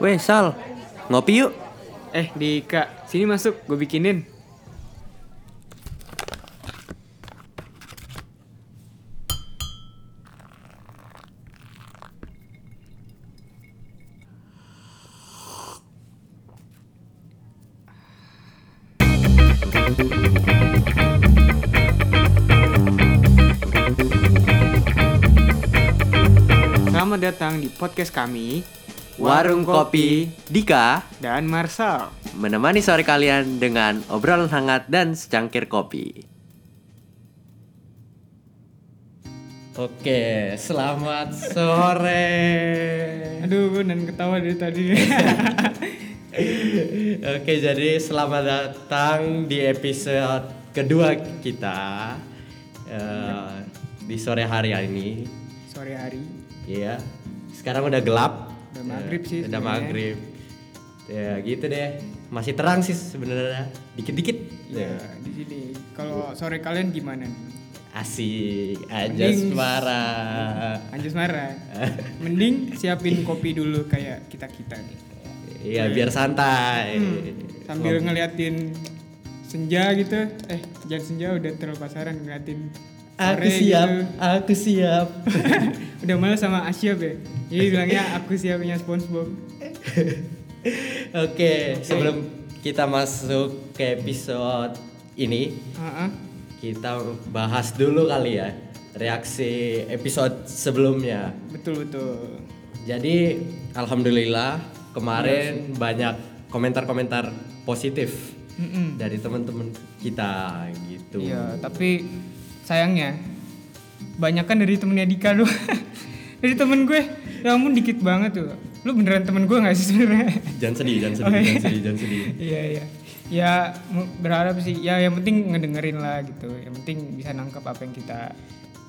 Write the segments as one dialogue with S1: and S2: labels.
S1: Weh Sal, ngopi yuk.
S2: Eh, Dika, sini masuk, gue bikinin. Selamat datang di podcast kami
S1: Warung Kopi Dika
S2: dan Marsal.
S1: menemani sore kalian dengan obrolan hangat dan secangkir kopi.
S3: Oke, selamat sore.
S2: Aduh, gue dan ketawa dari tadi.
S3: Oke, jadi selamat datang di episode kedua kita eh, di sore hari ini.
S2: Sore hari,
S3: Iya, sekarang udah gelap.
S2: Udah maghrib
S3: Eh,
S2: sih
S3: Udah
S2: sebenarnya.
S3: maghrib. Ya gitu deh. Masih terang sih sebenarnya. Dikit-dikit. Iya.
S2: ya di sini. Kalau sore kalian gimana nih?
S3: Asik, aja
S2: Mending-
S3: suara.
S2: Anjus marah. Mending siapin kopi dulu kayak kita kita nih.
S3: Iya, biar
S2: Hmm.
S3: santai.
S2: Sambil ngeliatin senja gitu. Eh, jangan senja udah terlalu pasaran ngeliatin.
S3: Aku
S2: sore
S3: siap,
S2: gitu.
S3: aku siap.
S2: udah malah sama Asyap ya. Jadi bilangnya aku siapnya SpongeBob.
S3: Oke, sebelum kita masuk ke episode ini,
S2: Heeh.
S3: kita bahas dulu kali ya reaksi episode sebelumnya.
S2: Betul betul.
S3: Jadi, alhamdulillah
S2: Iya
S3: kemarin banyak komentar-komentar positif
S2: Mm-mm.
S3: dari teman-teman kita gitu.
S2: Iya, tapi sayangnya banyak kan dari temennya Dika lu. dari temen gue, ya ampun dikit banget tuh. Lu beneran temen gue gak sih sebenarnya?
S3: Jangan sedih, jangan sedih,
S2: Oke.
S3: jangan sedih, jangan sedih.
S2: Iya iya. Ya mu- berharap sih. Ya yang penting ngedengerin lah gitu. Yang penting bisa nangkep apa yang kita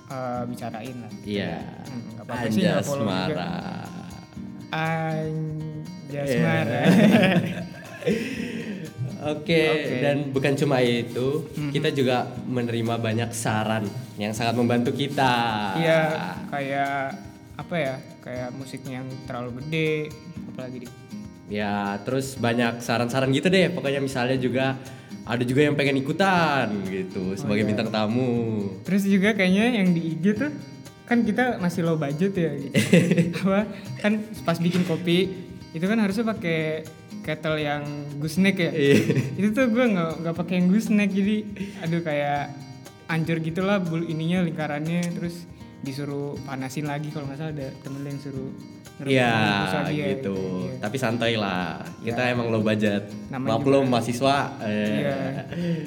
S2: eh, bicarain lah.
S3: Iya.
S2: Hmm, nggak apa-apa sih,
S3: Anja
S2: nggak follow juga.
S3: Asmara.
S2: Anjas
S3: Iya.
S2: marah.
S3: Oke, dan bukan cuma itu, kita juga menerima banyak saran yang sangat membantu kita.
S2: Iya kayak apa ya? Kayak musiknya yang terlalu gede apalagi di
S3: Ya, terus banyak saran-saran gitu deh. Pokoknya misalnya juga ada juga yang pengen ikutan gitu
S2: Oh,
S3: sebagai
S2: iya.
S3: bintang tamu.
S2: Terus juga kayaknya yang di IG tuh kan kita masih low budget ya gitu. Apa kan pas bikin kopi itu kan harusnya pakai kettle yang gooseneck ya.
S3: Iya.
S2: itu tuh gue nggak nggak pakai yang gooseneck jadi aduh kayak ancur gitulah bul ininya lingkarannya terus disuruh panasin lagi kalau nggak salah ada temen lu yang suruh ngerebus-
S3: Iya,
S2: ngerebus lagi ya,
S3: gitu.
S2: Iya.
S3: Tapi santai lah. Kita emang low budget.
S2: Ya. Namanya
S3: Maklum mahasiswa. Eh,
S2: Iya.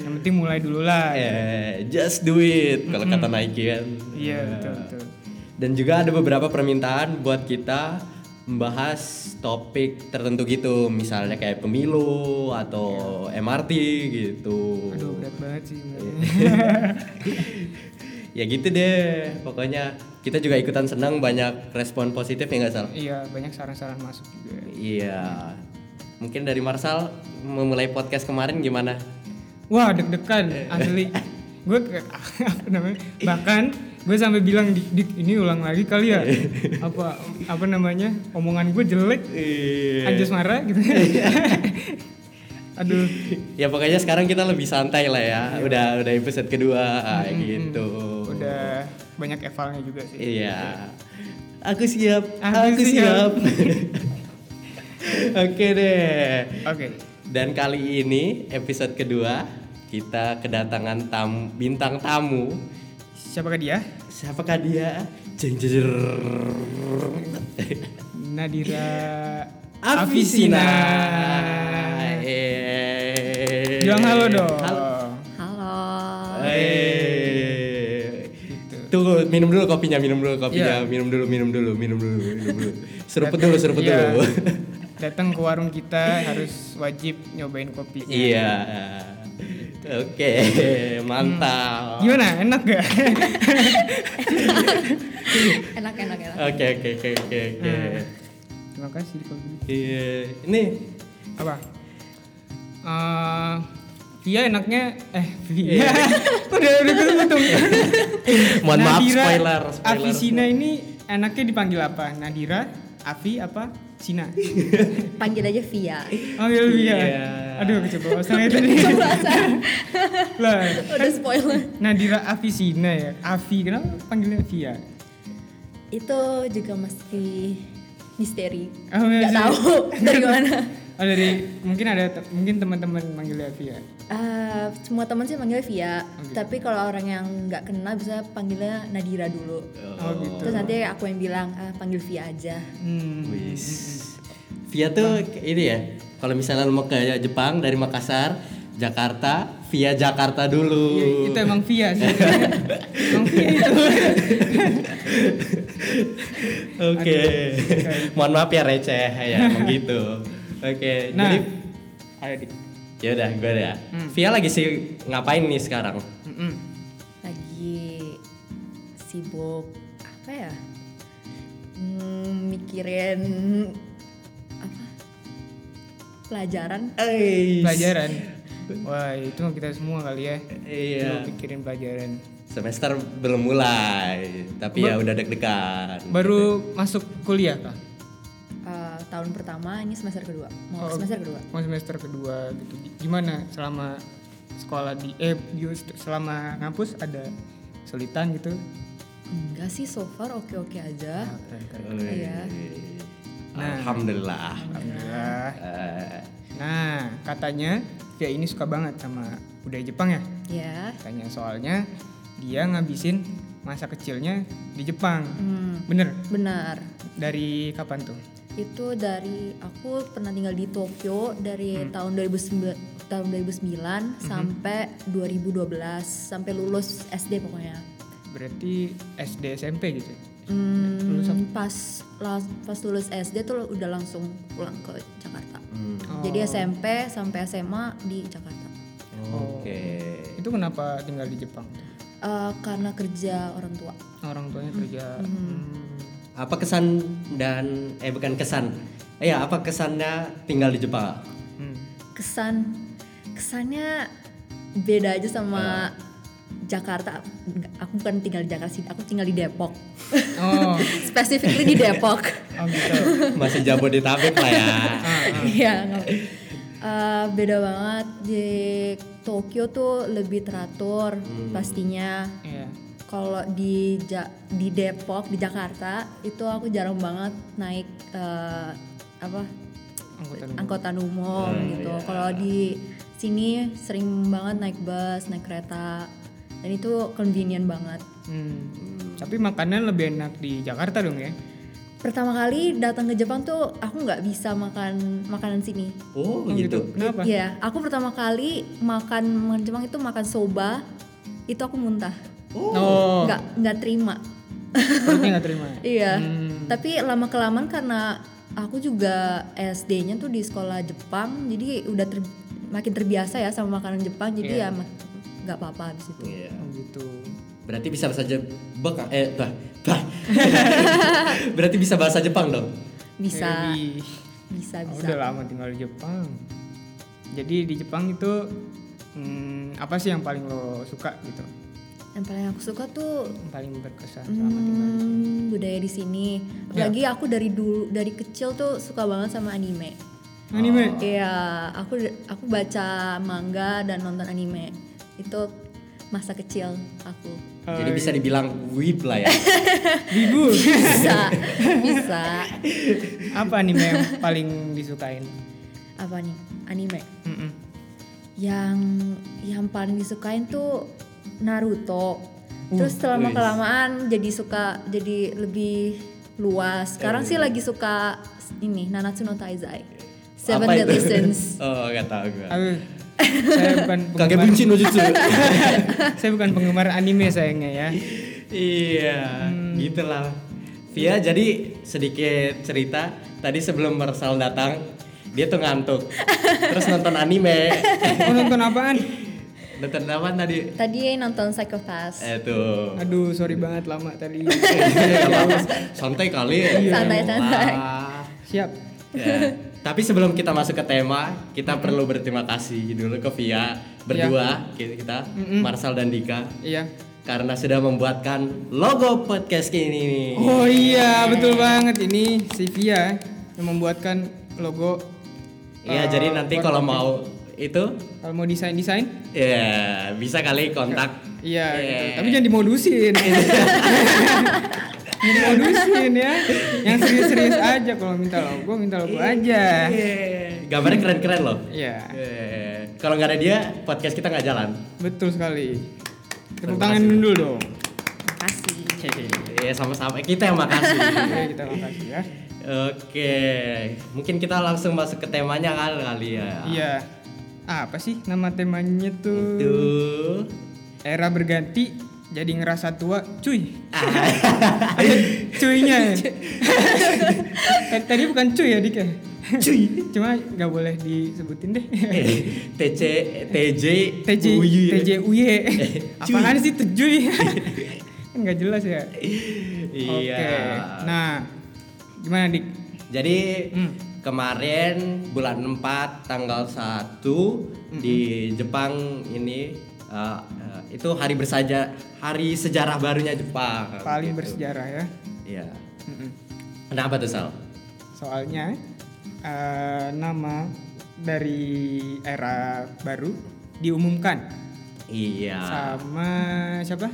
S2: Yang penting mulai dulu lah. Iya,
S3: eh, just do it kalau kata Nike kan.
S2: betul betul.
S3: Dan juga ada beberapa permintaan buat kita membahas topik tertentu gitu, misalnya kayak pemilu atau MRT gitu.
S2: Iya. Aduh berat banget sih. sebenarnya.
S3: Iya. Ya gitu deh, pokoknya kita juga ikutan senang banyak respon positif ya nggak Sal?
S2: Iya banyak saran-saran masuk juga.
S3: Iya. Mungkin dari Marsal memulai podcast kemarin gimana?
S2: Wah
S3: Eh.
S2: deg-degan asli. gue ke- apa namanya? Bahkan gue sampai bilang dik, Dik, ini ulang lagi kali ya. apa apa namanya? Omongan gue jelek.
S3: Iya.
S2: Anjus marah gitu. Aduh.
S3: Ya pokoknya sekarang kita lebih santai lah ya.
S2: Iya,
S3: Udah udah episode kedua gitu.
S2: Udah banyak evalnya juga sih.
S3: Iya. Aku siap.
S2: Aku
S3: Aku,
S2: siap.
S3: siap. Oke deh.
S2: Oke.
S3: Dan kali ini episode kedua kita kedatangan tamu bintang tamu.
S2: Siapakah dia?
S3: Siapakah dia? Jeng jejer.
S2: Nadira
S3: Afisina.
S2: Bilang halo dong.
S4: Halo.
S3: Eh. Tunggu, minum dulu kopinya, minum dulu kopinya, minum dulu, minum dulu, minum dulu, minum dulu. Seruput dulu, seruput
S2: Iya.
S3: dulu.
S2: Datang ke warung kita harus wajib nyobain kopi.
S3: Iya. Oke, mantap.
S2: Gimana? Enak gak?
S4: Enak enak enak.
S3: Oke, oke, oke, oke, oke.
S2: Terima kasih kopi.
S3: Iya. Ini
S2: apa Eh, Via enaknya eh Via udah udah ketutup
S3: mohon maaf spoiler, spoiler.
S2: Avisina ini enaknya dipanggil apa Nadira Avi apa Cina.
S4: Panggil aja Via.
S2: Oh iya, iya.
S3: Iya.
S2: Aduh, coba bahasanya tadi.
S4: Pembahasan.
S2: lah,
S4: Udah spoiler.
S2: Nadira Avisina ya. Avi, kenapa panggilnya Via?
S4: Itu juga masih misteri.
S2: Oh, iya
S4: Gak
S2: sih.
S4: tahu dari mana.
S2: Oh, dari mungkin ada te- mungkin teman-teman manggilnya Via.
S4: Eh, semua teman sih manggil Via,
S2: Oke.
S4: tapi kalau orang yang nggak kenal bisa panggilnya Nadira dulu.
S2: Oh, gitu.
S4: Terus nanti aku yang bilang "Ah, panggil Via aja.
S3: Oh,
S2: Hmm.
S3: Wis. Via tuh k- ini ya. Kalau misalnya lu mau ke Jepang dari Makassar, Jakarta, via Jakarta dulu.
S2: Iya, itu emang Via sih. emang Via itu.
S3: Oke. Mohon maaf ya receh ya, emang gitu. Oke,
S2: Nah,
S3: jadi
S2: ayo di.
S3: ya udah gue ya. Via lagi sih ngapain nih sekarang?
S2: Mm-mm.
S4: Lagi sibuk apa ya? Hmm, mikirin apa? Pelajaran.
S3: Eis.
S2: Pelajaran. Wah, itu mah kita semua kali ya.
S3: Iya.
S2: Cuma pikirin pelajaran.
S3: Semester belum mulai, tapi ya udah deg-degan.
S2: Baru masuk kuliah kah?
S4: Eh, tahun pertama ini semester kedua.
S2: Oh.
S4: Mau ke semester kedua.
S2: Mau semester kedua gitu. Gimana selama sekolah di eh di- selama ngampus ada kesulitan gitu?
S4: Enggak sih so far oke-oke aja.
S3: Eis.
S4: Iya.
S3: Alhamdulillah.
S2: Alhamdulillah.
S3: Nah. Eh,
S2: Nah, katanya Via ini suka banget sama budaya Jepang ya?
S4: Ya.
S2: Katanya soalnya dia ngabisin masa kecilnya di Jepang.
S4: Hmm,
S2: Bener?
S4: benar.
S2: Dari kapan tuh?
S4: Itu dari aku pernah tinggal di Tokyo dari
S2: Hmm.
S4: tahun 2009 tahun 2009
S2: Mhm.
S4: sampai 2012 sampai lulus SD pokoknya.
S2: Berarti SD SMP gitu.
S4: Hmm,
S2: Lulus apa?
S4: pas la- pas lulus SD tuh udah langsung pulang ke Jakarta.
S3: hmm.
S4: Oh. Jadi
S2: Oh.
S4: SMP sampai SMA di Jakarta.
S3: Oke.
S2: Itu kenapa tinggal di Jepang?
S4: Eh, karena kerja orang tua.
S2: Orang tuanya kerja. Hmm.
S3: apa kesan dan eh bukan kesan Eh, ya apa kesannya tinggal di Jepang
S2: Hmm.
S4: kesan kesannya beda aja sama Jakarta. Nggak, Aku bukan tinggal di Jakarta sih, aku tinggal di Depok.
S2: Oh,
S4: Specifically di Depok.
S2: oh gitu.
S3: masih Jabodetabek lah ya
S4: Iya. nggak- Eh, beda banget di Tokyo tuh lebih teratur pastinya.
S2: Iya.
S4: Kalau di Ja- di Depok di Jakarta itu aku jarang banget naik eh, apa
S2: Angkutan umum.
S4: angkutan umum
S3: Hmm,
S4: gitu.
S3: iya.
S4: Kalau di sini sering banget naik bus, naik kereta. Dan itu convenient banget.
S2: Hmm. Tapi makanan lebih enak di Jakarta dong ya?
S4: Pertama kali datang ke Jepang tuh aku nggak bisa makan makanan sini.
S3: oh
S2: Oh,
S3: gitu
S2: Kenapa?
S4: Iya, aku pertama kali makan makanan Jepang itu makan soba, itu aku muntah.
S2: Oh,
S4: Nggak nggak terima.
S2: perutnya nggak terima.
S4: Iya.
S2: Hmm.
S4: Tapi lama kelamaan karena aku juga SD-nya tuh di sekolah Jepang, jadi udah ter- makin terbiasa ya sama makanan Jepang, jadi
S2: Iya.
S4: ya mak- nggak apa-apa habis itu.
S3: Iya.
S2: Oh, gitu.
S3: berarti bisa bahasa Jepang eh bah, bah. berarti bisa bahasa Jepang dong
S4: bisa
S2: Maybe.
S4: bisa
S2: Oh,
S4: bisa
S2: udah lama tinggal di Jepang. Jadi di Jepang itu hmm, apa sih yang paling lo suka gitu?
S4: yang paling aku suka tuh
S2: Yang paling berkesan selama tinggal di Jepang?
S4: hmm, budaya di sini
S2: Ya.
S4: apalagi aku dari dulu dari kecil tuh suka banget sama anime
S2: Anime.
S4: iya aku aku baca manga dan nonton anime itu masa kecil aku
S2: Eh,
S3: jadi bisa dibilang wib lah ya
S2: Bibu.
S4: bisa bisa
S2: apa anime yang paling disukain?
S4: apa nih anime
S2: Mm-mm.
S4: yang yang paling disukain tuh Naruto.
S3: Hmm.
S4: Terus selama
S3: wis.
S4: kelamaan jadi suka jadi lebih luas. Sekarang sih lagi suka ini Nanatsu no Taizai. Seven
S3: Eh. Apa itu?
S4: Deadly Sins.
S3: oh gak tau gue
S2: Aduh, saya bukan
S3: kakek
S2: penggemar,
S3: buncin Nojutsu
S2: saya bukan penggemar anime sayangnya ya.
S3: Iya, gitu lah. Via, jadi sedikit cerita. Tadi sebelum Marcel datang, dia tuh ngantuk. Terus nonton anime.
S2: Mau nonton apaan?
S3: nonton apa tadi?
S4: Tadi nonton Psychopath.
S3: Eh tuh.
S2: Aduh, sorry banget lama tadi.
S3: Santai kali.
S4: Santai, santai.
S3: Wah.
S2: Siap.
S3: Ya. Tapi sebelum kita masuk ke tema, kita perlu berterima kasih dulu ke Via
S2: Ya.
S3: berdua kita, Marcel dan Dika
S2: Iya.
S3: karena sudah membuatkan logo podcast ini.
S2: Oh iya, betul banget ini si Via yang membuatkan logo
S3: Iya, jadi
S2: Ah,
S3: nanti kalau mau itu
S2: kalau mau desain desain
S3: ya bisa kali kontak
S2: iya gitu.
S3: Iya.
S2: tapi jangan dimodusin jangan dimodusin ya yang serius-serius aja kalau minta logo minta logo aja
S3: Iya, Gambarnya keren-keren loh.
S2: Iya.
S3: Iya. Kalau nggak ada dia, podcast kita nggak jalan.
S2: betul sekali
S3: Terima
S2: tepuk tangan
S3: kasih.
S2: dulu dong
S4: Makasih.
S3: Iya, sama-sama. Kita yang makasih.
S2: Oke, kita makasih ya
S3: Oke, mungkin kita langsung masuk ke temanya kali kali ya.
S2: iya apa sih nama temanya tuh
S3: Itu.
S2: era berganti jadi ngerasa tua cuy
S3: Ah.
S2: ada cuynya Eh, tadi bukan cuy ya dik ya cuy cuma nggak boleh disebutin deh
S3: Eh, TC TJ
S2: TJ
S3: Uyu ya.
S2: TJ UY
S3: cuy.
S2: apaan sih tujuy kan nggak jelas ya
S3: Iya.
S2: Oke. nah gimana dik
S3: Jadi
S2: Hmm.
S3: kemarin bulan 4 tanggal 1
S2: Hmm,
S3: di Jepang ini eh, eh, itu hari bersaja hari sejarah barunya Jepang.
S2: paling
S3: gitu.
S2: bersejarah ya
S3: Iya.
S2: Mm-mm.
S3: Kenapa tuh Sal?
S2: soalnya eh, nama dari era baru diumumkan
S3: Iya.
S2: sama siapa?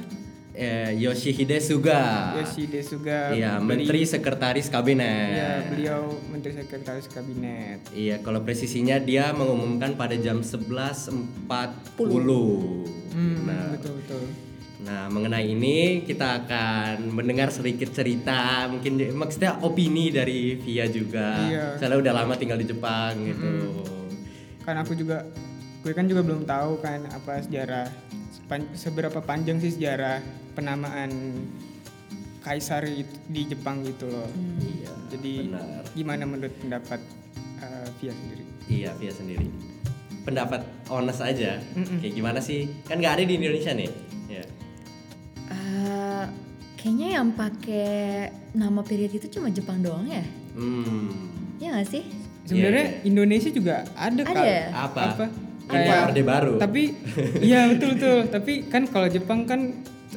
S3: Eh, Yoshihide Suga.
S2: Yoshide
S3: Ah.
S2: Suga.
S3: Iya, Eh.
S2: beli-
S3: Menteri Sekretaris Kabinet.
S2: Iya, beliau Menteri Sekretaris Kabinet.
S3: Iya, kalau presisinya dia mengumumkan pada jam 11.40.
S2: Hmm,
S3: nah,
S2: betul betul.
S3: nah, mengenai ini kita akan mendengar sedikit cerita, mungkin di- maksudnya opini dari Via juga.
S2: Iya.
S3: Soalnya udah lama tinggal di Jepang gitu.
S2: Kan aku juga gue kan juga belum tahu kan apa sejarah sepan- seberapa panjang sih sejarah penamaan kaisar itu di Jepang gitu loh.
S3: Iya.
S2: Jadi
S3: benar.
S2: gimana menurut pendapat eh, Via sendiri?
S3: Iya, Via sendiri. Pendapat honest aja. Kayak gimana sih? Kan nggak ada di Indonesia nih. Iya.
S4: Eh, kayaknya yang pakai nama period itu cuma Jepang doang ya?
S3: Hmm.
S4: Ya nggak sih?
S2: Sebenarnya Indonesia juga ada,
S4: Ada
S2: kali.
S4: ya?
S3: iya. Apa? Ini
S2: Eh, Kayak-
S3: orde baru.
S2: Tapi iya betul betul. Tapi kan kalau Jepang kan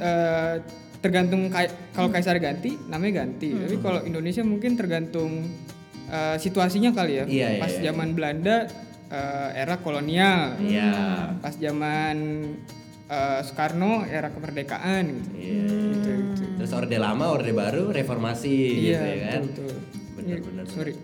S2: eh, tergantung kai- kalau kaisar ganti namanya ganti. Tapi kalau Indonesia mungkin tergantung eh, situasinya kali ya.
S3: Iya, iya,
S2: Pas
S3: iya.
S2: zaman Belanda eh, era kolonial.
S3: Iya.
S2: Pas zaman eh, Soekarno era kemerdekaan gitu.
S3: Iya.
S2: Gitu, gitu.
S3: Terus orde lama, orde baru, reformasi gitu ya kan.
S2: Iya, betul.
S3: Bener,
S2: Iya,
S3: bener,
S2: Sorry.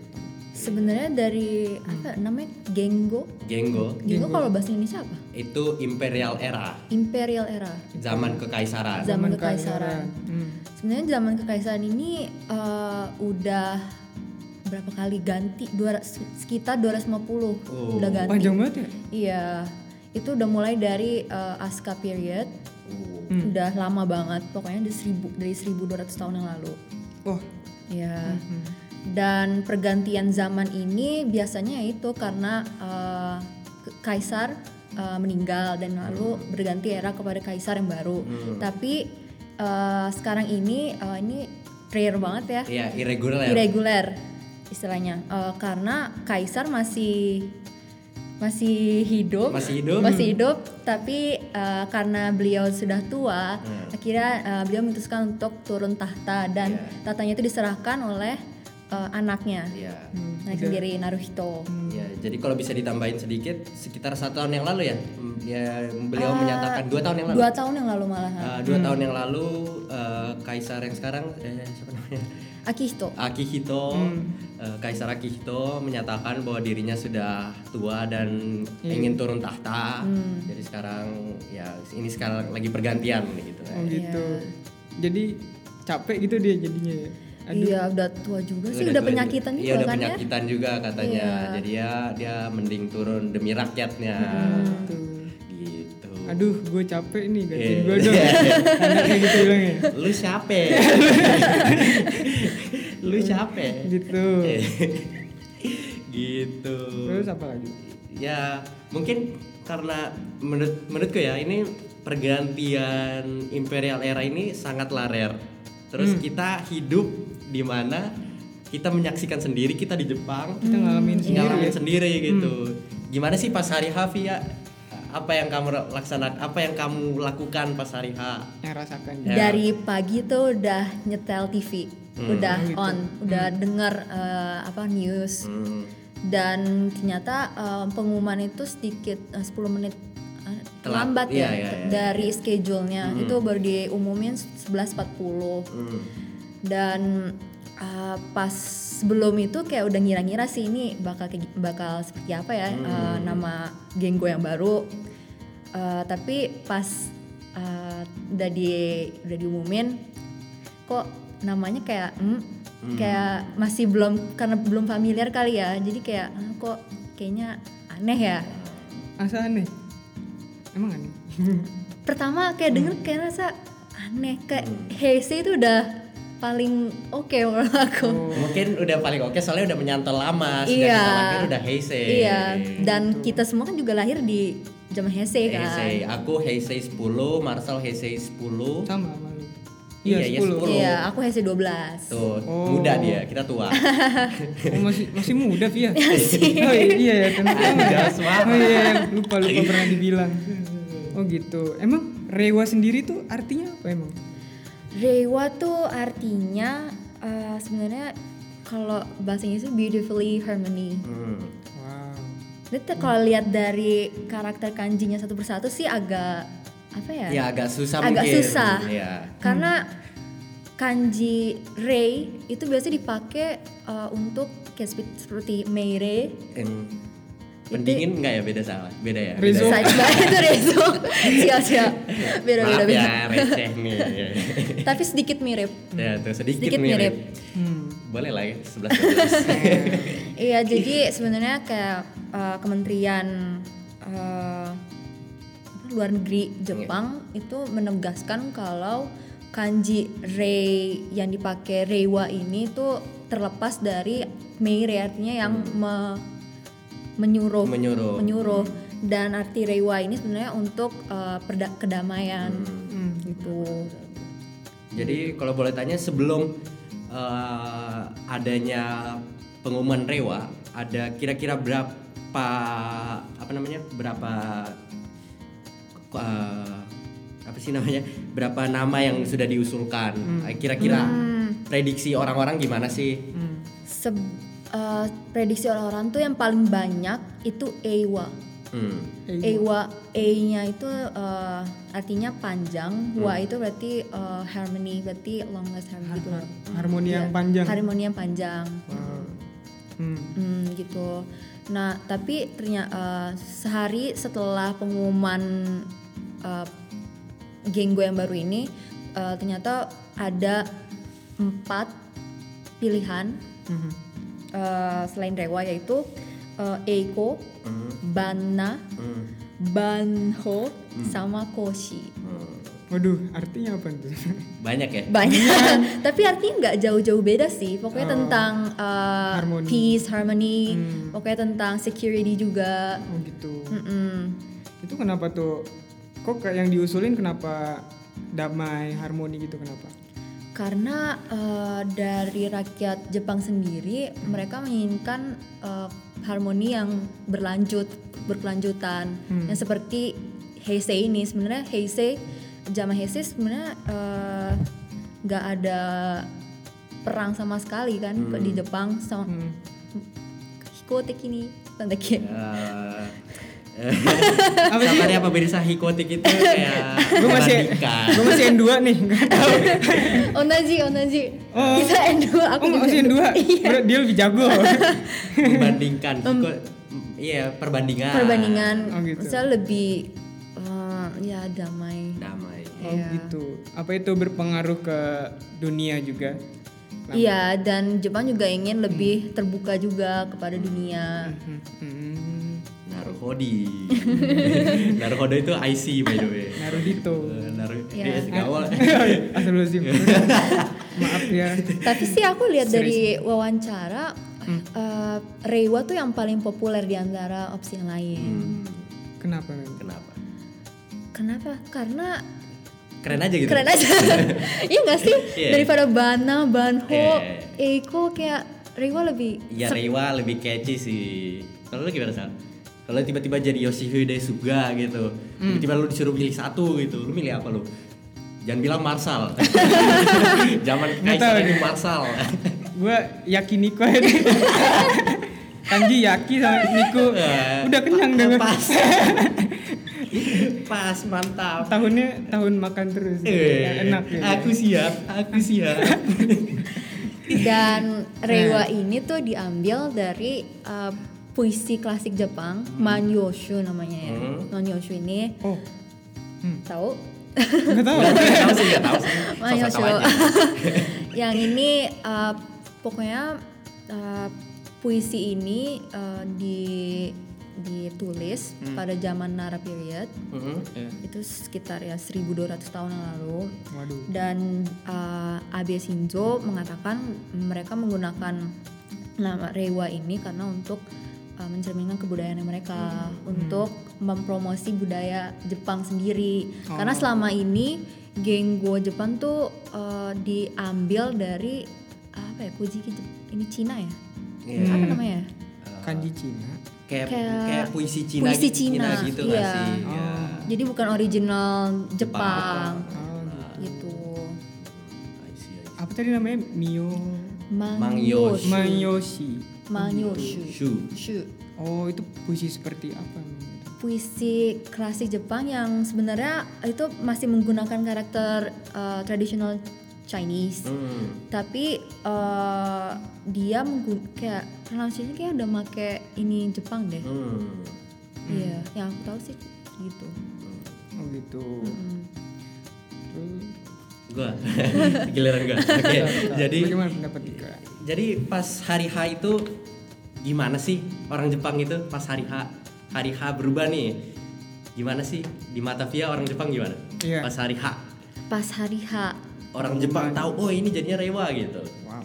S4: Sebenarnya dari
S3: Hmm.
S4: apa namanya? Genggo.
S3: Genggo
S4: Genggo kalau bahasa Indonesia apa?
S3: itu imperial era,
S4: Imperial era.
S3: zaman kekaisaran.
S4: Zaman kekaisaran.
S2: Hmm.
S4: Sebenarnya zaman kekaisaran ini eh, udah berapa kali ganti? 200, sekitar 250
S3: Oh,
S4: udah ganti.
S2: Panjang banget ya.
S4: Iya, itu udah mulai dari eh, Aska period,
S3: Oh.
S2: Hmm.
S4: udah lama banget, pokoknya dari 1000 dari 1200 tahun yang lalu.
S2: Wah. Hmm.
S4: Iya. Dan pergantian zaman ini biasanya itu karena eh, ke- kaisar eh, meninggal dan lalu berganti era kepada kaisar yang baru. Tapi eh, sekarang ini eh, ini rare banget ya
S3: Iya, irregular.
S4: irregular istilahnya Eh, karena kaisar masih masih hidup
S3: Masih hidup.
S4: masih hidup tapi eh, karena beliau sudah tua akhirnya eh, beliau memutuskan untuk turun tahta dan
S3: Hmm. Iya.
S4: tahtanya itu diserahkan oleh eh, anaknya
S3: Iya.
S4: nah sendiri Naruhito
S2: Hmm.
S3: Iya, jadi kalau bisa ditambahin sedikit, sekitar satu tahun yang lalu ya, hmm, dia beliau
S2: Ah,
S3: menyatakan dua tahun yang lalu.
S4: dua tahun yang lalu malahan
S3: Eh,
S2: Hmm.
S3: dua tahun yang lalu eh, kaisar yang sekarang eh, siapa namanya?
S4: Akihito
S3: Akihito,
S4: Hmm.
S3: eh, Kaisar Akihito menyatakan bahwa dirinya sudah tua dan
S4: Iya.
S3: ingin turun tahta.
S4: Hmm.
S3: Jadi sekarang ya ini sekarang lagi pergantian gitu.
S2: Oh
S4: Iya.
S2: gitu. Jadi capek gitu dia jadinya ya. Aduh.
S4: iya udah tua juga sih udah,
S3: tua
S4: penyakitan
S3: juga.
S4: juga
S3: Iya, udah
S4: kan ya Iya.
S3: penyakitan juga katanya. Jadi ya dia mending turun demi rakyatnya.
S4: Hmm.
S3: Gitu.
S2: Aduh, gue capek nih gantiin
S3: Iya.
S2: gue dong. Anaknya gitu bilang ya.
S3: Lu siapa? Lu siapa?
S2: Gitu.
S3: Iya. gitu.
S2: Terus apa lagi?
S3: ya mungkin karena menurut menurutku ya ini pergantian imperial era ini sangat larer terus kita hidup di mana kita menyaksikan sendiri kita di Jepang
S2: Kita ngalamin sendiri.
S3: ngalamin
S2: ya.
S3: sendiri gitu gimana sih pas hari H ya apa yang kamu laksanakan apa yang kamu lakukan pas hari H
S2: Yang rasakan.
S3: Ya. Hmm.
S4: dari pagi tuh udah nyetel TV udah on, udah dengar eh, apa news
S3: Hmm.
S4: dan ternyata eh, pengumuman itu sedikit eh, 10 menit eh,
S3: Telat.
S4: terlambat
S3: Iya,
S4: ya
S3: iya, iya.
S4: dari schedule-nya itu baru diumumin 11.40
S3: Hmm.
S4: dan uh, pas sebelum itu kayak udah ngira-ngira sih ini bakal kayak gi- bakal seperti apa ya uh, nama geng gue yang baru Uh, tapi pas uh, udah di udah diumumin kok namanya kayak hmm, kayak masih belum karena belum familiar kali ya jadi kayak ah, kok kayaknya aneh ya
S2: Masa aneh? Emang aneh?
S4: pertama kayak denger kayak rasa aneh kayak Heise itu udah paling oke menurut aku
S3: Mungkin udah paling oke soalnya udah menyantol lama, sudah
S4: Iya.
S3: disalahkan udah heise.
S4: Iya, dan kita semua kan juga lahir di zaman Heisei kan.
S3: Heisei. Aku Heisei 10, Marcel Heisei 10.
S2: Sama sama lu.
S3: Iya, iya,
S2: Iya,
S3: 10.
S2: 10.
S4: Iya, aku Heisei 12.
S3: Tuh,
S2: Oh.
S3: muda dia, kita tua.
S2: Oh, masih masih muda, Via. oh, iya, iya ya, tentu. Oh iya, iya, lupa lupa pernah dibilang. Oh gitu. Emang rewa sendiri tuh artinya apa emang?
S4: Rewa tuh artinya eh, sebenarnya kalau bahasa Inggris itu beautifully harmony.
S3: Hmm.
S2: Wow.
S4: Ini tuh kalau lihat dari karakter kanjinya satu persatu sih agak apa ya?
S3: Ya agak susah
S4: Agak
S3: mungkin.
S4: susah.
S3: Iya.
S4: Karena kanji rei itu biasanya dipakai eh, untuk kayak seperti- seperti meire,
S3: Em, Pendingin nggak ya beda sama? Beda ya.
S2: Rezo.
S3: Beda ya?
S4: Saja itu rezo. Siap-siap. Beda-beda.
S3: Maaf ya, receh nih.
S4: Tapi sedikit mirip.
S3: ya, tuh sedikit,
S4: Sedikit
S3: mirip.
S4: mirip.
S2: Hmm.
S3: Boleh lah ya, 11
S4: Iya, jadi sebenarnya kayak uh, kementerian uh, apa, luar negeri Jepang itu menegaskan kalau kanji rei yang dipakai reiwa ini tuh terlepas dari meire artinya yang me- menyuruh
S3: Menyuruh.
S4: menyuruh. dan arti reiwa ini sebenarnya untuk uh, perda- kedamaian gitu.
S2: Hmm.
S3: Jadi kalau boleh tanya sebelum eh, adanya pengumuman rewa, ada kira-kira berapa apa namanya? berapa eh, apa sih namanya? berapa nama yang sudah diusulkan?
S2: Hmm.
S3: Eh, Kira-kira prediksi orang-orang gimana sih?
S2: Hmm.
S4: Seb- uh, prediksi orang-orang tuh yang paling banyak itu eiwa.
S3: Hmm.
S4: Ewa E-nya itu eh, artinya panjang, wa itu berarti eh, harmony, berarti longest harmony gitu. loh.
S2: Harmoni yang
S4: Iya,
S2: panjang.
S4: Harmoni yang panjang.
S2: Hmm.
S4: Hmm, gitu. Nah, tapi ternyata sehari setelah pengumuman eh, geng gue yang baru ini eh, ternyata ada empat pilihan
S2: Mhm.
S4: eh, selain Rewa yaitu eh, Eiko,
S3: Hmm.
S4: Banna,
S3: Hmm.
S4: Banho sama Koshi.
S3: Hmm.
S2: Waduh, artinya apa tuh?
S3: Banyak ya?
S4: Banyak. Tapi artinya nggak jauh-jauh beda sih. Pokoknya tentang uh,
S2: Harmoni.
S4: peace, harmony. Pokoknya tentang security juga.
S2: Oh gitu.
S4: Mm-mm.
S2: Itu kenapa tuh? Kok kayak yang diusulin kenapa damai, harmoni gitu kenapa?
S4: Karena uh, dari rakyat Jepang sendiri mereka menginginkan uh, harmoni yang berlanjut, berkelanjutan.
S2: Hmm.
S4: Yang seperti Heisei ini sebenarnya Heisei zaman Heisei sebenarnya uh, nggak ada perang sama sekali kan di Jepang sama
S2: Hmm.
S4: Hikotek ini tanda ki-
S3: Eh,
S2: Apa sih?
S3: Sama apa beda hikotik itu kayak
S2: Gue masih
S4: Ah.
S3: peradikan.
S2: gue masih N2 nih, nggak tahu.
S4: Onaji, onaji.
S2: Oh.
S4: Kita N2 aku
S2: Oh,
S4: juga Iya.
S2: masih N2. Berarti dia lebih jago.
S3: membandingkan Kok- iya perbandingan
S4: Perbandingan
S2: Oh, gitu.
S4: misalnya lebih uh, ya damai.
S3: damai
S2: Oh gitu. Apa itu berpengaruh ke dunia juga?
S4: Iya, dan Jepang juga
S3: Hmm.
S4: ingin lebih terbuka juga kepada dunia.
S2: Hmm.
S3: Naruhodi Naruhodo itu IC by the way
S2: Naruhito.
S3: Eh, Naruh
S4: Iya.
S3: dia segawal
S2: Astagfirullahaladzim. Maaf ya.
S4: Tapi sih aku lihat dari wawancara
S3: Hmm.
S4: eh, Reiwa tuh yang paling populer di antara opsi yang lain.
S3: Hmm,
S2: Kenapa? Mem?
S3: kenapa
S4: Kenapa? Karena
S3: keren aja gitu
S4: keren aja. Iya nggak sih?
S3: Iya.
S4: Daripada Bana, Banho,
S3: Iya.
S4: Eiko kayak Reiwa lebih
S3: ya Rewa lebih catchy sih kalau lu gimana sal kalau
S4: Hmm.
S3: tiba-tiba jadi Yoshihide Suga gitu tiba-tiba lu disuruh milih satu gitu lu milih apa lu Jangan bilang Marsal. Zaman
S2: Nggak tahu
S3: Kaisar ini
S2: nih.
S3: Marsal.
S2: Gue yakiniko ini. Kanji ya, yaki sama niku. Udah kenyang deh gua.
S3: Ya. Pas. Pas mantap.
S2: Tahunnya tahun makan terus.
S3: Eh,
S2: Enak ya.
S3: Aku siap, aku siap.
S4: Dan
S3: Nah.
S4: rewa ini tuh diambil dari eh, puisi klasik Jepang, Manyoshu namanya ya.
S3: Hmm.
S4: Manyoshu ini
S2: Oh,
S4: tahu?
S2: nggak tahu.
S3: Nggak tahu sih, nggak tahu sih. Sosok
S4: Manyoshu.
S3: tahu aja.
S4: Yang ini eh, pokoknya eh, puisi ini eh, di ditulis pada zaman Nara period
S3: Mm-mm.
S4: itu sekitar ya 1200 tahun yang lalu
S2: Waduh.
S4: dan eh, Abe Shinzo mengatakan mereka menggunakan nama Rewa ini karena untuk eh, mencerminkan kebudayaan mereka untuk mempromosi budaya Jepang sendiri karena selama ini Genggo Jepang tuh eh, diambil dari apa ya Kujiki Jep- ini Cina ya
S3: Iya.
S2: Hmm.
S4: apa namanya ya?
S2: Kanji Cina.
S3: Kayak
S4: Kayak
S3: kayak puisi Cina,
S4: puisi
S3: gitu- Cina
S4: Cina,
S3: gitu
S4: iya.
S3: nggak sih? Iya.
S4: jadi bukan original Jepang,
S2: Oh, gitu.
S4: gitu
S3: I see, I
S2: Apa tadi namanya? Mio
S3: Mangyoshi.
S2: Mayoshi.
S3: see.
S4: Manyoshu.
S3: Shu.
S4: Shu.
S2: Oh, itu puisi seperti apa? emang?
S4: puisi klasik Jepang yang sebenarnya itu masih menggunakan karakter uh, tradisional Chinese.
S3: Hmm.
S4: Tapi uh, dia menggun kayak pronunciation kayak udah make ini Jepang deh.
S3: Hmm.
S4: Iya, yang aku tahu sih gitu.
S2: Oh, gitu. Terus,
S3: Gua. Giliran gua. Oke. Jadi
S2: bagaimana pendapat Dika?
S3: Jadi pas hari H itu gimana sih orang Jepang itu pas hari H hari H berubah nih gimana sih di mata Via orang Jepang gimana
S2: Iya.
S3: pas hari H
S4: Pas hari H
S3: orang Jepang tahu oh ini jadinya rewa gitu
S2: Wow.